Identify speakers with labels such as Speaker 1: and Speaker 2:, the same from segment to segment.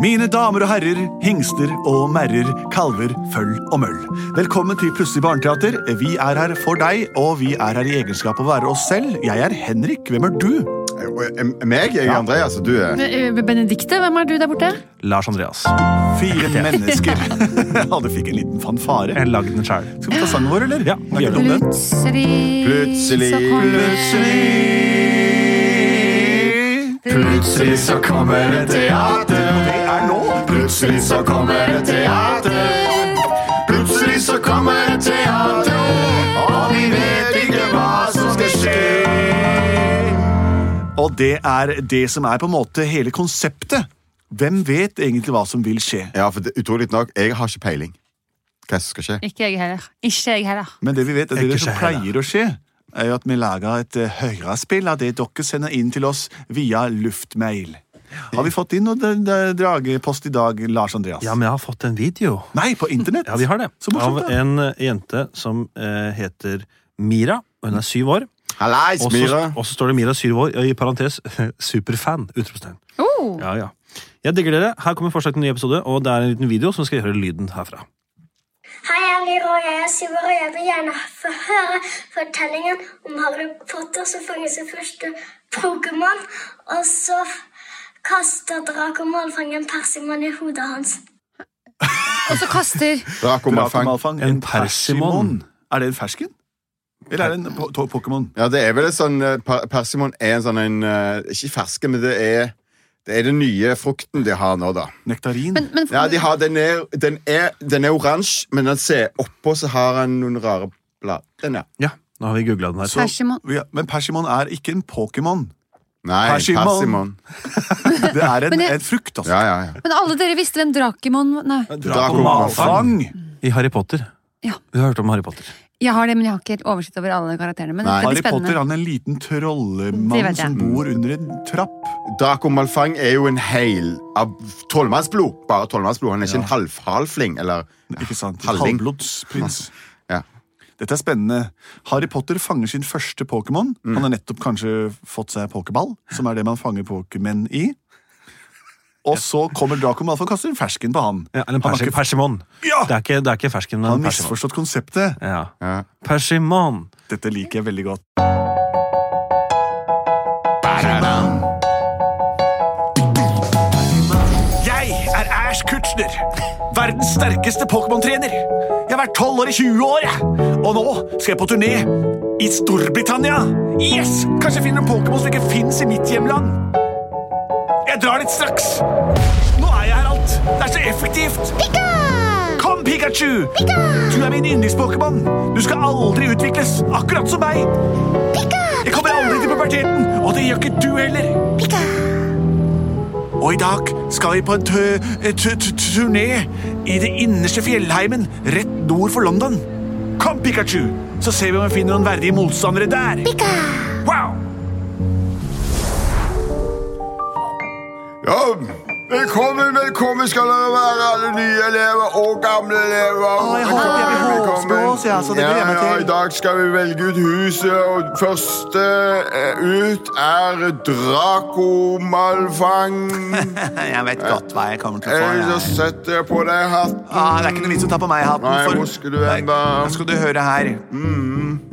Speaker 1: Mine damer og herrer, hingster og merrer, kalver, føll og møll. Velkommen til Plutselig barneteater. Vi er her for deg, og vi er her i egenskap av å være oss selv. Jeg er Henrik. Hvem er du?
Speaker 2: Eh, Meg? Jeg er Andreas, og du eh? er
Speaker 3: Benedikte, eh, hvem er du der borte?
Speaker 4: Lars Andreas.
Speaker 1: Fire mennesker. ja, du fikk en liten fanfare.
Speaker 4: Jeg lagde den sjøl.
Speaker 1: Skal vi ta sangen vår, eller?
Speaker 4: Ja,
Speaker 1: Det er ikke dumt, den.
Speaker 3: Plutselig
Speaker 2: Plutselig.
Speaker 3: så kom-
Speaker 1: Plutselig
Speaker 2: Plutselig så kommer det teater.
Speaker 1: Og det er nå.
Speaker 2: Plutselig så kommer det teater. Plutselig så kommer det teater. Og vi vet ikke hva som skal skje.
Speaker 1: Og det er det som er på en måte hele konseptet. Hvem vet egentlig hva som vil skje?
Speaker 2: Ja, for det, utrolig nok, jeg har ikke peiling. Hva som skal skje?
Speaker 3: Ikke jeg heller. Ikke jeg heller.
Speaker 1: Men det vi vet, er det,
Speaker 4: Ikke
Speaker 1: som
Speaker 4: skje
Speaker 1: pleier å skje, er jo at vi lager et eh, høyrespill av det dere sender inn til oss via luftmail. Har vi fått inn noe d- d- dragepost i dag, Lars Andreas?
Speaker 4: Ja, men jeg har fått en video.
Speaker 1: Nei, på internett?
Speaker 4: Ja, vi har det.
Speaker 1: Så morsomt,
Speaker 4: Av
Speaker 1: da.
Speaker 4: en eh, jente som eh, heter Mira. og Hun er syv år.
Speaker 2: Hallais,
Speaker 4: Og så
Speaker 2: Myhre.
Speaker 4: og så står det Mira syv år, i parentes superfan! utropstegn.
Speaker 3: Oh,
Speaker 4: Ja, ja. Jeg digger dere. Her kommer forslag til en ny episode, og det er en liten video, så skal jeg høre lyden herfra.
Speaker 5: Hei, jeg er Lyra, og jeg er syv år, og jeg vil gjerne få høre fortellingen om Harry Potter som fanget sin første Pokémon, og så kaster drakemålfangen Persimon i hodet hans.
Speaker 3: og så kaster
Speaker 2: Draco
Speaker 1: Draken
Speaker 2: Malfang.
Speaker 1: Malfang,
Speaker 4: En persimon.
Speaker 1: Er det en fersken? Eller er det en po- to- Pokémon?
Speaker 2: Ja, det er vel et sånn eh, per- Persimon er en sånn en eh, Ikke ferske, men det er det er den nye frukten de har nå, da.
Speaker 1: Nektarin?
Speaker 3: Men, men
Speaker 2: Ja, de har, den, er, den, er, den er oransje, men den ser oppå så har han noen rare blad. Den er.
Speaker 4: Ja, nå har vi googla den her.
Speaker 1: Så-
Speaker 3: Persimon.
Speaker 1: Ja, men Persimon er ikke en Pokémon.
Speaker 2: Nei,
Speaker 1: Persimon.
Speaker 2: persimon.
Speaker 1: Det er en,
Speaker 3: Men jeg-
Speaker 1: en frukt, altså.
Speaker 2: Ja, ja, ja.
Speaker 3: Men alle dere visste hvem Drakemon Nei.
Speaker 2: Draco Malfang.
Speaker 4: I Harry Potter.
Speaker 3: Ja.
Speaker 4: Du har hørt om Harry Potter?
Speaker 3: Jeg har det, men jeg har ikke oversikt over alle karakterene. Men
Speaker 2: Nei.
Speaker 3: det
Speaker 1: Harry
Speaker 3: blir spennende.
Speaker 1: Potter han er en liten
Speaker 3: Det
Speaker 1: trollemann
Speaker 3: vet jeg.
Speaker 1: som bor under en trapp.
Speaker 2: Draco Malfang er jo en hel av tolvmannsblod. Bare tolvmannsblod. Han er ikke en halvhalfling, eller
Speaker 1: Ikke sant?
Speaker 2: Halvling.
Speaker 1: Halvblodsprins.
Speaker 2: ja.
Speaker 1: Dette er spennende. Harry Potter fanger sin første Pokémon.
Speaker 4: Mm.
Speaker 1: Han har nettopp kanskje fått seg pokéball, som er det man fanger Pokémon i. Og så kommer Draco Malfoy og kaster en fersken på han.
Speaker 4: Ja, eller en
Speaker 1: han,
Speaker 4: persi
Speaker 1: har ikke,
Speaker 4: persimon.
Speaker 1: Ja!
Speaker 4: Det, er ikke, det er ikke fersken, men
Speaker 1: han har
Speaker 4: persimon.
Speaker 1: misforstått konseptet.
Speaker 4: Ja.
Speaker 2: Ja.
Speaker 4: Persimon.
Speaker 1: Dette liker jeg veldig godt. Jeg er Ash Kutchner, verdens sterkeste Pokémon-trener. Jeg har vært 12 år i 20 år, jeg. og nå skal jeg på turné i Storbritannia. Yes! Kanskje jeg finner en Pokémon som ikke fins i mitt hjemland. Jeg drar dit straks. Nå er jeg her alt. Det er så effektivt. Kom, Pikachu! Du er min yndlings-Pokémon. Du skal aldri utvikles, akkurat som meg. Jeg kommer aldri til puberteten, og det gjør ikke du heller. Og i dag skal vi på en tø t t turné i det innerste fjellheimen rett nord for London. Kom, Pikachu, så ser vi om vi finner noen verdige motstandere der. Wow!
Speaker 2: Ja, velkommen, velkommen skal dere være, alle nye elever og gamle elever.
Speaker 1: Å, jeg håper jeg blir
Speaker 2: Velkommen,
Speaker 1: håpsblås, jeg, altså, det
Speaker 2: ja,
Speaker 1: gleder jeg meg
Speaker 2: ja,
Speaker 1: til.
Speaker 2: I dag skal vi velge ut huset, og første eh, ut er Draco Malfang.
Speaker 1: Jeg vet godt hva jeg kommer til
Speaker 2: Eh, Så setter jeg på deg hatten.
Speaker 1: Ah, det er ikke noe vits å ta på meg hatten.
Speaker 2: Nei,
Speaker 1: for-
Speaker 2: hvor skal du hen, da?
Speaker 1: Nei, Skal du høre her.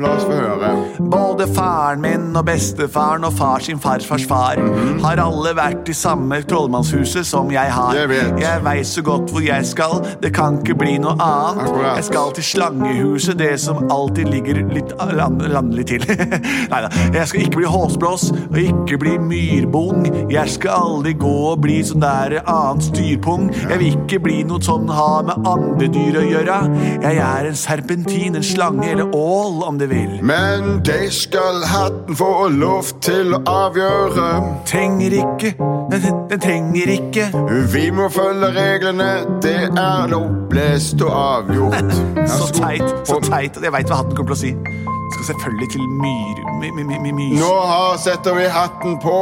Speaker 2: La oss få høre.
Speaker 1: Både faren min og bestefaren og far sin farfars far
Speaker 2: Mhm.
Speaker 1: har alle vært i samme trollmannshuset som jeg har.
Speaker 2: Jeg vet.
Speaker 1: Jeg veit så godt hvor jeg skal, det kan ikke bli noe annet.
Speaker 2: Akkurat.
Speaker 1: Jeg skal til Slangehuset, det som alltid ligger litt ah, land, landlig til. Nei da. Jeg skal ikke bli håsblås og ikke bli myrbong. Jeg skal aldri gå og bli sånn der annen styrpung. Jeg vil ikke bli noe sånn har med andre dyr å gjøre. Jeg er en serpentin, en slange eller ål, om du vil.
Speaker 2: Men det skal hatten få lov til å avgjøre.
Speaker 1: trenger ikke den, den trenger ikke ikke.
Speaker 2: Vi må følge reglene, det er lovblest og avgjort.
Speaker 1: Så teit. så teit Jeg veit hva hatten kommer til å si. Skal selvfølgelig til myr... My, my, my, my, mys-
Speaker 2: Nå har setter vi hatten på.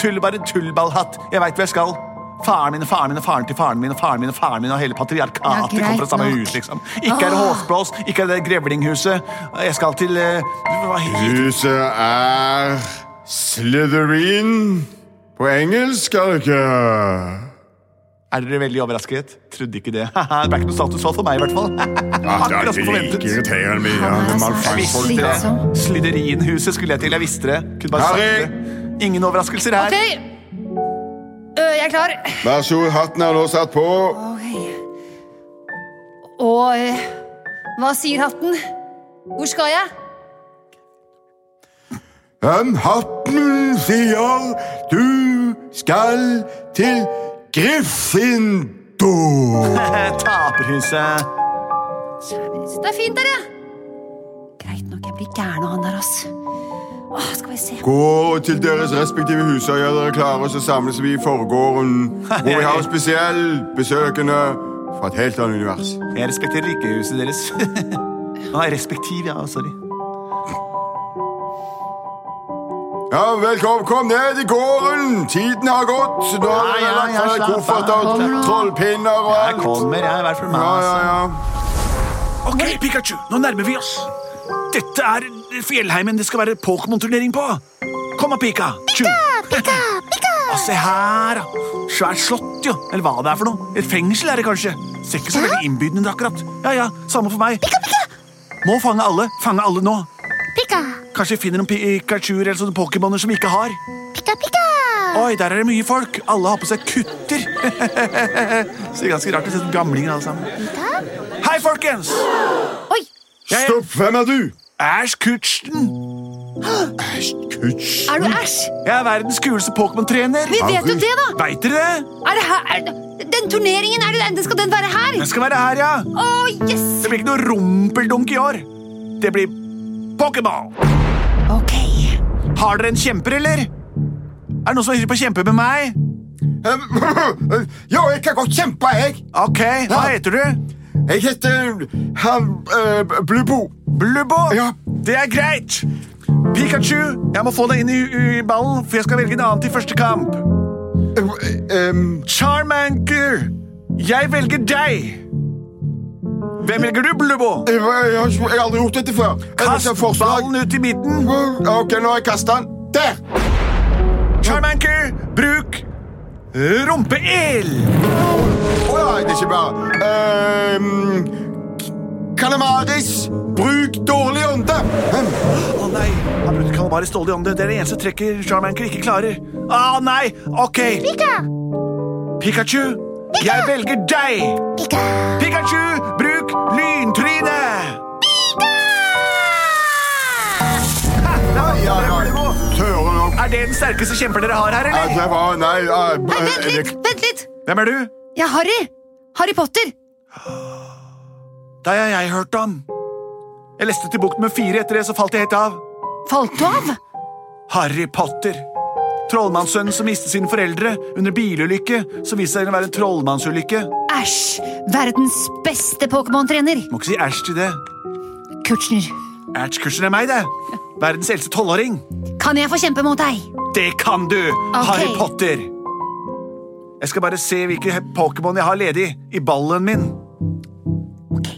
Speaker 1: Tull, bare tullballhatt. Jeg veit hvor jeg skal. Faren min, faren min, faren til faren min, faren min, faren min og hele patriarkatet
Speaker 3: Ja, greit
Speaker 1: kommer fra samme
Speaker 3: nok.
Speaker 1: hus, liksom. Ikke er det Håsblås, ikke er det Grevlinghuset. Jeg skal til eh, Hva heter
Speaker 2: Huset er Slytherin på engelsk, er det ikke?
Speaker 1: Er dere veldig overrasket? Trodde ikke det. Haha, det er ikke noe status for meg, i hvert fall.
Speaker 2: Ah, det er
Speaker 1: Akkurat som
Speaker 2: ikke like
Speaker 1: forventet.
Speaker 2: irriterende mye.
Speaker 3: Han er
Speaker 2: men man
Speaker 3: så
Speaker 2: fant
Speaker 3: slitsom.
Speaker 2: folk der.
Speaker 3: Slitsom.
Speaker 1: Sliderinhuset skulle jeg til. Jeg visste det. Kunne bare
Speaker 2: Harry!
Speaker 1: sagt det. Ingen overraskelser her.
Speaker 3: Ok. Ø, jeg er klar.
Speaker 2: Vær så god, hatten er nå satt på.
Speaker 3: Ok. Og ø, hva sier hatten? Hvor skal jeg?
Speaker 2: Um, hatten sier du skal til Gryffindor.
Speaker 1: Taperhuset.
Speaker 3: Det er fint der, ja. Greit nok, jeg blir gæren av han der, ass. Åh, skal vi se.
Speaker 2: Gå til deres respektive hus og gjør dere klare, og så samles vi i forgården. Hvor vi har spesiell besøkende fra et helt annet univers.
Speaker 1: Jeg respekterer ikke huset deres. Nei, respektiv, ja. Sorry.
Speaker 2: Ja, velkommen, kom ned i gården! Tiden har gått. Nå har
Speaker 1: Ja,
Speaker 2: dere
Speaker 1: ja,
Speaker 2: lagt
Speaker 1: ja,
Speaker 2: fra dere
Speaker 1: slapp av.
Speaker 2: koffert og
Speaker 1: Kommer
Speaker 3: nå.
Speaker 2: trollpinner og
Speaker 1: Jeg
Speaker 2: alt.
Speaker 1: kommer, jeg. Vær for meg.
Speaker 2: Ja,
Speaker 1: altså.
Speaker 2: ja, ja.
Speaker 1: Ok, Pikachu, nå nærmer vi oss. Dette er fjellheimen det skal være Pokémon-turnering på. Kom da, Pika. Pika, Pika, Pika. Og se her, da. Svært slott, jo. Eller hva det er for noe. Et fengsel er det kanskje. Ser ikke så veldig innbydende ut akkurat. Ja, ja, samme for meg. Pika, Pika. Må fange alle. Fange alle nå.
Speaker 6: Pika,
Speaker 1: Kanskje vi finner noen Pikachuer eller sånne Pokémoner som vi ikke har.
Speaker 6: pika, pika.
Speaker 1: Oi, der er det mye folk. Alle har på seg kutter. Ser ganske rart ut. Sånn Gamlinger alle sammen. Hei, folkens!
Speaker 3: Oi!
Speaker 1: Jeg er
Speaker 2: Stopp, hvem er du?
Speaker 1: Ash Kutchen.
Speaker 2: Kutsj.
Speaker 3: Er du æsj?
Speaker 1: Jeg er verdens kuleste Pokémon-trener.
Speaker 3: Vi vet jo det, da!
Speaker 1: Veit dere det?
Speaker 3: Er det her? Er, den turneringen, er det den? Skal den være her?
Speaker 1: Den skal være her, ja.
Speaker 3: Å, yes!
Speaker 1: Det blir ikke noe rumpeldunk i år. Det blir Pokémon.
Speaker 3: Ok.
Speaker 1: Har dere en kjemper, eller? Er det noen som er hypp på å kjempe med meg?
Speaker 2: Jo, jeg kan godt kjempe, jeg.
Speaker 1: Ok, hva heter du?
Speaker 2: Jeg heter han uh, Blubo.
Speaker 1: Blubbo?
Speaker 2: Ja.
Speaker 1: Det er greit. Pikachu, jeg må få deg inn i, i ballen, for jeg skal velge en annen til første kamp.
Speaker 2: Eh, em,
Speaker 1: Charmanker, jeg velger deg. Hvem velger du, Blubbo?
Speaker 2: Jeg, jeg, jeg, har ikke, jeg har aldri gjort dette før. Jeg har
Speaker 1: Kast
Speaker 2: ikke forslag.
Speaker 1: ballen ut i midten.
Speaker 2: Ja, Hm, Ok, nå har jeg kastet den. Der!
Speaker 1: Charmanker, bruk rumpeild.
Speaker 2: Å ja, det er ikke bare Ehm, k- Kalamaris, bruk dårlig ånde. Hm,
Speaker 1: Å nei, han brukte kalamaris dårlig ånde. Det er det eneste trekket Charmanker ikke klarer. Å nei, ok.
Speaker 6: Pika,
Speaker 1: Pikachu, jeg velger deg.
Speaker 6: pika.
Speaker 1: Pikachu, bruk lyntryne.
Speaker 2: Nei, ja, ja. Tøren opp.
Speaker 1: Er det den sterkeste kjemper dere har her,
Speaker 2: Ja,
Speaker 1: eller?
Speaker 2: det var Nei. Ja,
Speaker 3: Nei, vent
Speaker 2: eh,
Speaker 3: litt! Vent litt!
Speaker 1: Hvem er du?
Speaker 3: Jeg er Harry! Harry Potter!
Speaker 1: Det har jeg hørt om. Jeg leste til bukt med fire etter det, så falt jeg helt av.
Speaker 3: Falt du av?
Speaker 1: Harry Potter. Trollmannssønnen som mistet sine foreldre under bilulykke, som viste seg å være en trollmannsulykke.
Speaker 3: Æsj! Verdens beste Pokémon-trener!
Speaker 1: Må ikke si æsj til det.
Speaker 3: Kutchner,
Speaker 1: Æsj-kursen er meg, det. Verdens eldste tolvåring.
Speaker 3: kan jeg få kjempe mot deg?
Speaker 1: Det kan du, Harry Potter. Jeg skal bare se hvilke Pokémon jeg har ledig i ballen min.
Speaker 3: Ok.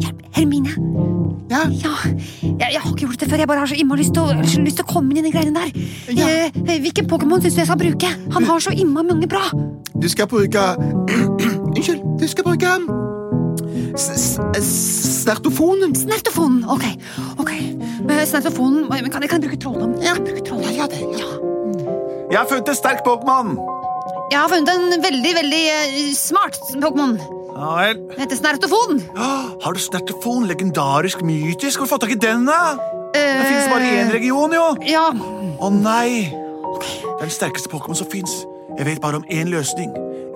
Speaker 3: Hjelp. Hermine. Ja? Jeg, jeg har ikke gjort det før. Jeg bare har så innmari lyst til å, så lyst til å komme inn i de greiene der. Eh, hvilken Pokémon syns du jeg skal bruke? Han har så innmari mange bra.
Speaker 2: Du skal bruke Unnskyld. Du skal bruke um, Snertofonen.
Speaker 3: Snertofonen. Ok. ok. Med Snertofonen men kan, jeg- kan jeg bruke trolldom? Ja, bruke trolldom. Ja,
Speaker 1: Jeg har funnet en sterk Pokémon.
Speaker 3: Jeg har funnet en veldig, veldig eh, smart Pokémon.
Speaker 1: Ja vel.
Speaker 3: Den heter Snertofon.
Speaker 1: Åh, Har du snertefon? Legendarisk, mytisk. Hvor har du fått tak i den, da? Den finnes bare i
Speaker 3: Eh.
Speaker 1: én region, jo.
Speaker 3: Ja.
Speaker 1: Å nei! Det er den sterkeste Pokémon som fins. Jeg vet bare om én løsning.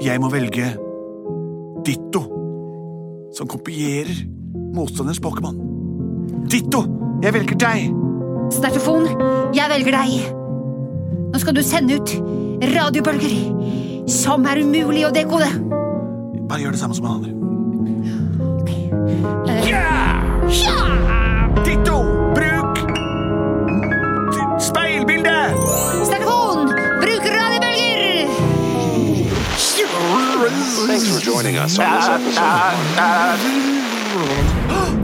Speaker 1: Jeg må velge Ditto. Som kopierer motstanderens Pokémon. Ditto, jeg velger deg.
Speaker 3: Snertofon, jeg velger deg. Nå skal du sende ut radiobølger som er umulig å dekode.
Speaker 1: Bare gjør det samme som han andre.
Speaker 2: Ditto! Bruk speilbilde!
Speaker 3: Sterkon, bruk radiobølger!
Speaker 6: Thanks for joining us on this episode.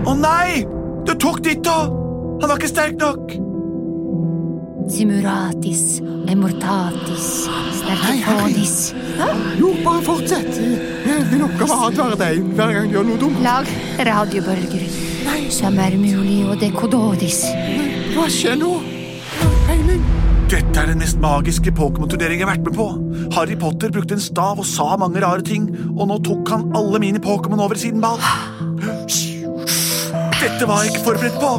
Speaker 1: Å nei! Du tok Ditto! Han var ikke sterk nok!
Speaker 3: Simuratis, emortatis, sterkofonis.
Speaker 2: Jo, bare fortsett. Min oppgave er å advare deg hver gang du gjør noe dumt.
Speaker 3: Lag radiobølger som er umulig å dekododis.
Speaker 2: Hva skjer nå? Jeg har Peiling.
Speaker 1: Dette er den mest magiske Pokémon-turneringen jeg har vært med på. Harry Potter brukte en stav og sa mange rare ting, og nå tok han alle mine Pokémon over siden ball. Dette var jeg ikke forberedt på.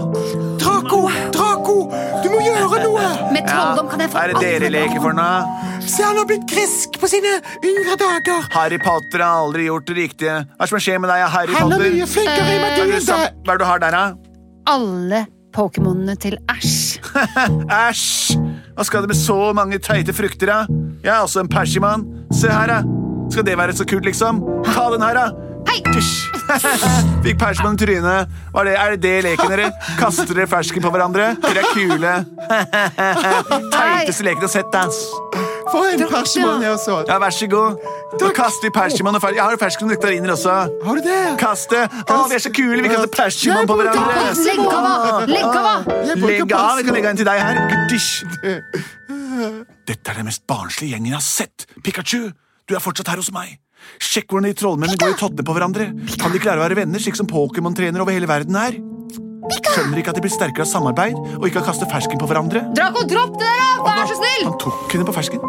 Speaker 2: Draco! Draco! Du må gjøre noe!
Speaker 3: Med trolldom kan jeg få
Speaker 1: Er det dere
Speaker 3: alt-
Speaker 1: leker for nå?
Speaker 2: Se, han har blitt grisk på sine yngre dager.
Speaker 1: Harry Potter har aldri gjort det riktige. Hva er det som skjer med deg, Harry
Speaker 2: Han er
Speaker 1: Potter?
Speaker 2: mye flinkere i
Speaker 1: Hva er
Speaker 2: magien
Speaker 1: det som-
Speaker 2: enn
Speaker 1: Hva er det du har der, da?
Speaker 3: Alle Pokémonene til Æsj.
Speaker 1: Æsj! Hva skal det med så mange teite frukter, da? Jeg er også en persimann. Se her, da. Skal det være så kult, liksom? Ta den her, da.
Speaker 3: Hei!
Speaker 1: Fikk persimann i trynet. Var det, er det det leken dere? Kaster dere fersken på hverandre? Dere er kule. Teiteste leken jeg har sett, ass.
Speaker 2: For en persimann jeg også.
Speaker 1: Ja, vær så god. Nå kaster vi persimann og fersken. Jeg har jo fersken og nektariner også.
Speaker 2: Har du det?
Speaker 1: Kast det. Å, vi er så kule. Vi kaster persimann på hverandre.
Speaker 3: Legg av, da! Legg av! da!
Speaker 2: Jeg bruker
Speaker 1: Legg av, vi
Speaker 2: persimann.
Speaker 1: kan legge en til deg her. Guddish. Dette er den mest barnslige gjengen jeg har sett. Pikachu, du er fortsatt her hos meg. Sjekk hvordan de trollmennene går i tottene på hverandre. Kan de klare å være venner, slik som Pokémon-trenere over hele verden er? Skjønner ikke at de blir sterkere av samarbeid og ikke av å kaste fersken på hverandre?
Speaker 3: Draco, dropp det der, da! Vær så snill!
Speaker 1: Han tok henne på fersken.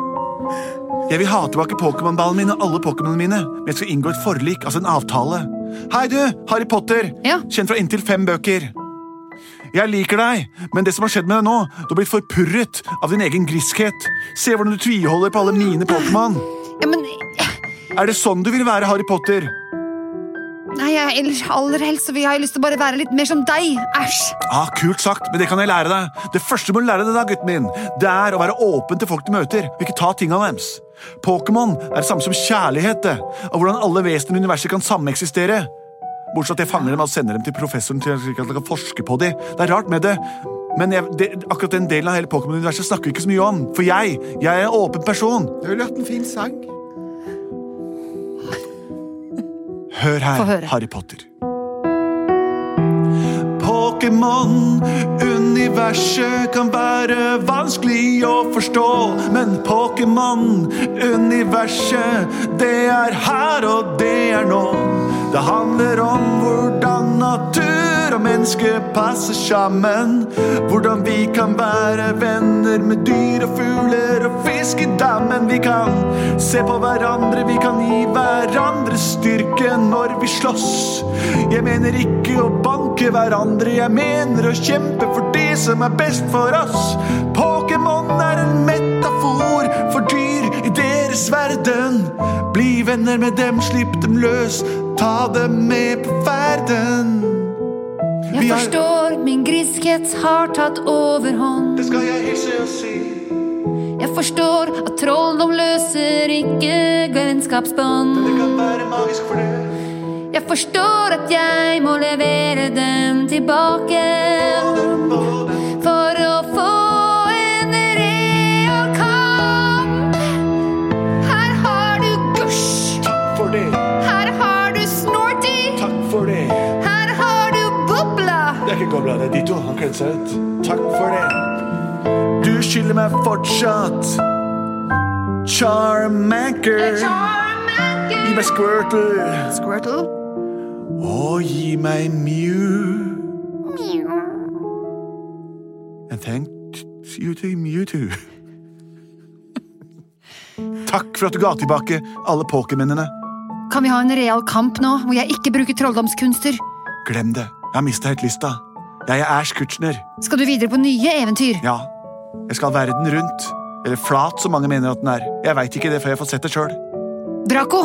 Speaker 1: Jeg vil ha tilbake Pokémon-ballen min og alle Pokémonene mine, men jeg skal inngå et forlik, altså en avtale. Hei du, Harry Potter,
Speaker 3: Ja.
Speaker 1: kjent fra inntil fem bøker. Jeg liker deg, men det som har skjedd med deg nå, du har blitt forpurret av din egen griskhet. Se hvordan du tviholder på alle mine Pokémon.
Speaker 3: Ja, men
Speaker 1: Er det sånn du vil være, Harry Potter?
Speaker 3: Nei, jeg, ellers- aller helst så vil jeg lyst til å bare være litt mer som deg. Æsj.
Speaker 1: Ja, Kult sagt, men det kan jeg lære deg. Det første du må lære deg, da, gutten min, det er å være åpen til folk du møter, og ikke ta tingene deres. Pokémon er det samme som kjærlighet, det, og hvordan alle vesener i universet kan sameksistere. Bortsett fra at jeg fanger dem og sender dem til professoren til slik at han kan forske på dem. Det er rart med det, men jeg, det, akkurat den delen av hele Pokémon-universet snakker vi ikke så mye om, for jeg, jeg er en åpen person.
Speaker 2: Det ville vært en fin sang.
Speaker 1: Hør
Speaker 3: Få
Speaker 1: her,
Speaker 3: høre.
Speaker 1: Harry Potter. Pokémon, universet kan være vanskelig å forstå. Men Pokémon, universet, det er her og det er nå. Det handler om hvordan natur og menneske passer sammen. Hvordan vi kan være venner med dyr og fugler og fisk i dammen. Vi kan se på hverandre, vi kan gi hverandre styrke når vi slåss. Jeg mener ikke å banke hverandre, jeg mener å kjempe for det som er best for oss. Pokémon er en metafor for dyr i deres verden. Bli venner med dem, slipp dem løs, ta dem med på ferden.
Speaker 3: Jeg
Speaker 1: Vi er-
Speaker 3: forstår min griskhet har tatt overhånd.
Speaker 1: Det skal jeg hilse og si.
Speaker 3: Jeg forstår at trolldom løser ikke vennskapsbånd.
Speaker 1: Det kan være magisk for det.
Speaker 3: Jeg forstår at jeg må levere dem tilbake. For å få en real kamp. Her har du Gush.
Speaker 1: For det,
Speaker 3: Her har du Snorty.
Speaker 1: takk for det.
Speaker 3: Her har du Bobla.
Speaker 1: Det er ikke Gobla, det er Ditto. Han kledde seg ut. Takk for det. Du skylder meg fortsatt. Charmanker. Gi meg Squirtle.
Speaker 3: Squirtle.
Speaker 1: Og gi meg Mew. And thank you to Mewtwo. Takk for at du ga tilbake alle pokémennene.
Speaker 3: Kan vi ha en real kamp nå, hvor jeg ikke bruker trolldomskunster?
Speaker 1: Glem det. Jeg har mista helt lista. Jeg er Ash Kutchner.
Speaker 3: Skal du videre på nye eventyr?
Speaker 1: Ja, jeg skal verden rundt. Eller flat, som mange mener at den er. Jeg veit ikke det før jeg får sett det sjøl.
Speaker 3: Draco!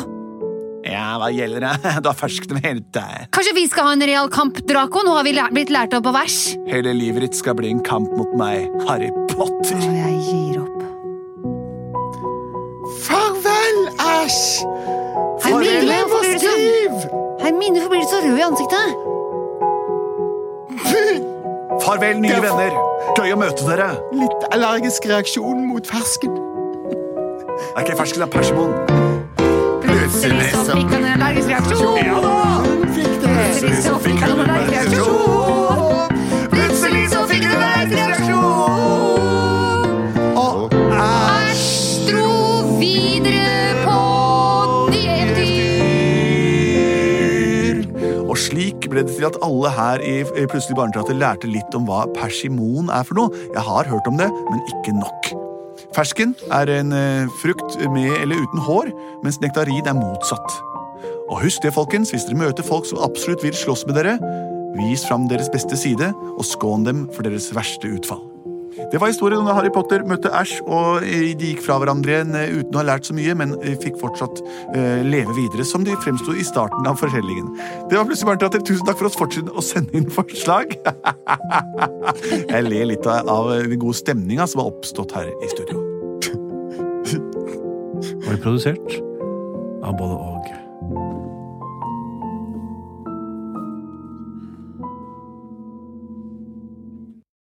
Speaker 1: Ja, hva gjelder det? Du har fersken med hele deg.
Speaker 3: Kanskje vi skal ha en real kamp, Draco? Nå har vi læ- blitt lært opp på vers.
Speaker 1: Hele livet ditt skal bli en kamp mot meg, Harry Potter.
Speaker 3: Og jeg gir opp.
Speaker 2: Æsj!
Speaker 3: Hermine,
Speaker 2: Forelen
Speaker 3: hvorfor
Speaker 2: var
Speaker 3: blir du så-
Speaker 2: stiv!
Speaker 3: Hermine, hvorfor blir du så rød i ansiktet?
Speaker 1: Farvel, nye
Speaker 2: Det er-
Speaker 1: venner. Gøy å møte dere.
Speaker 2: Litt allergisk reaksjon mot fersken.
Speaker 1: Det er ikke fersken, det er persimon.
Speaker 2: Plutselig
Speaker 3: Så fikk han en allergisk reaksjon.
Speaker 2: Ja da! Hun fikk det.
Speaker 3: Så fikk han en allergisk reaksjon.
Speaker 2: Plutselig så fikk hun en reaksjon. Og æsj!
Speaker 3: Dro videre på nye eventyr.
Speaker 1: Og slik ble det til at alle her i i Plutselig barneteater lærte litt om hva persimon er for noe. Jeg har hørt om det, men ikke nok. Fersken er en eh, frukt med eller uten hår, mens nektarin er motsatt. Og husk det, folkens, hvis dere møter folk som absolutt vil slåss med dere, vis fram deres beste side og skån dem for deres verste utfall. Det var historien om da Harry Potter møtte Ash, og eh, de gikk fra hverandre igjen eh, uten å ha lært så mye, men eh, fikk fortsatt eh, leve videre som de fremsto i starten av fortellingen. Det var plutselig Barneteater. Tusen takk for oss. Fortsett å sende inn forslag. Jeg ler litt av, av den gode stemninga som har oppstått her i studio.
Speaker 4: Var det produsert av både og.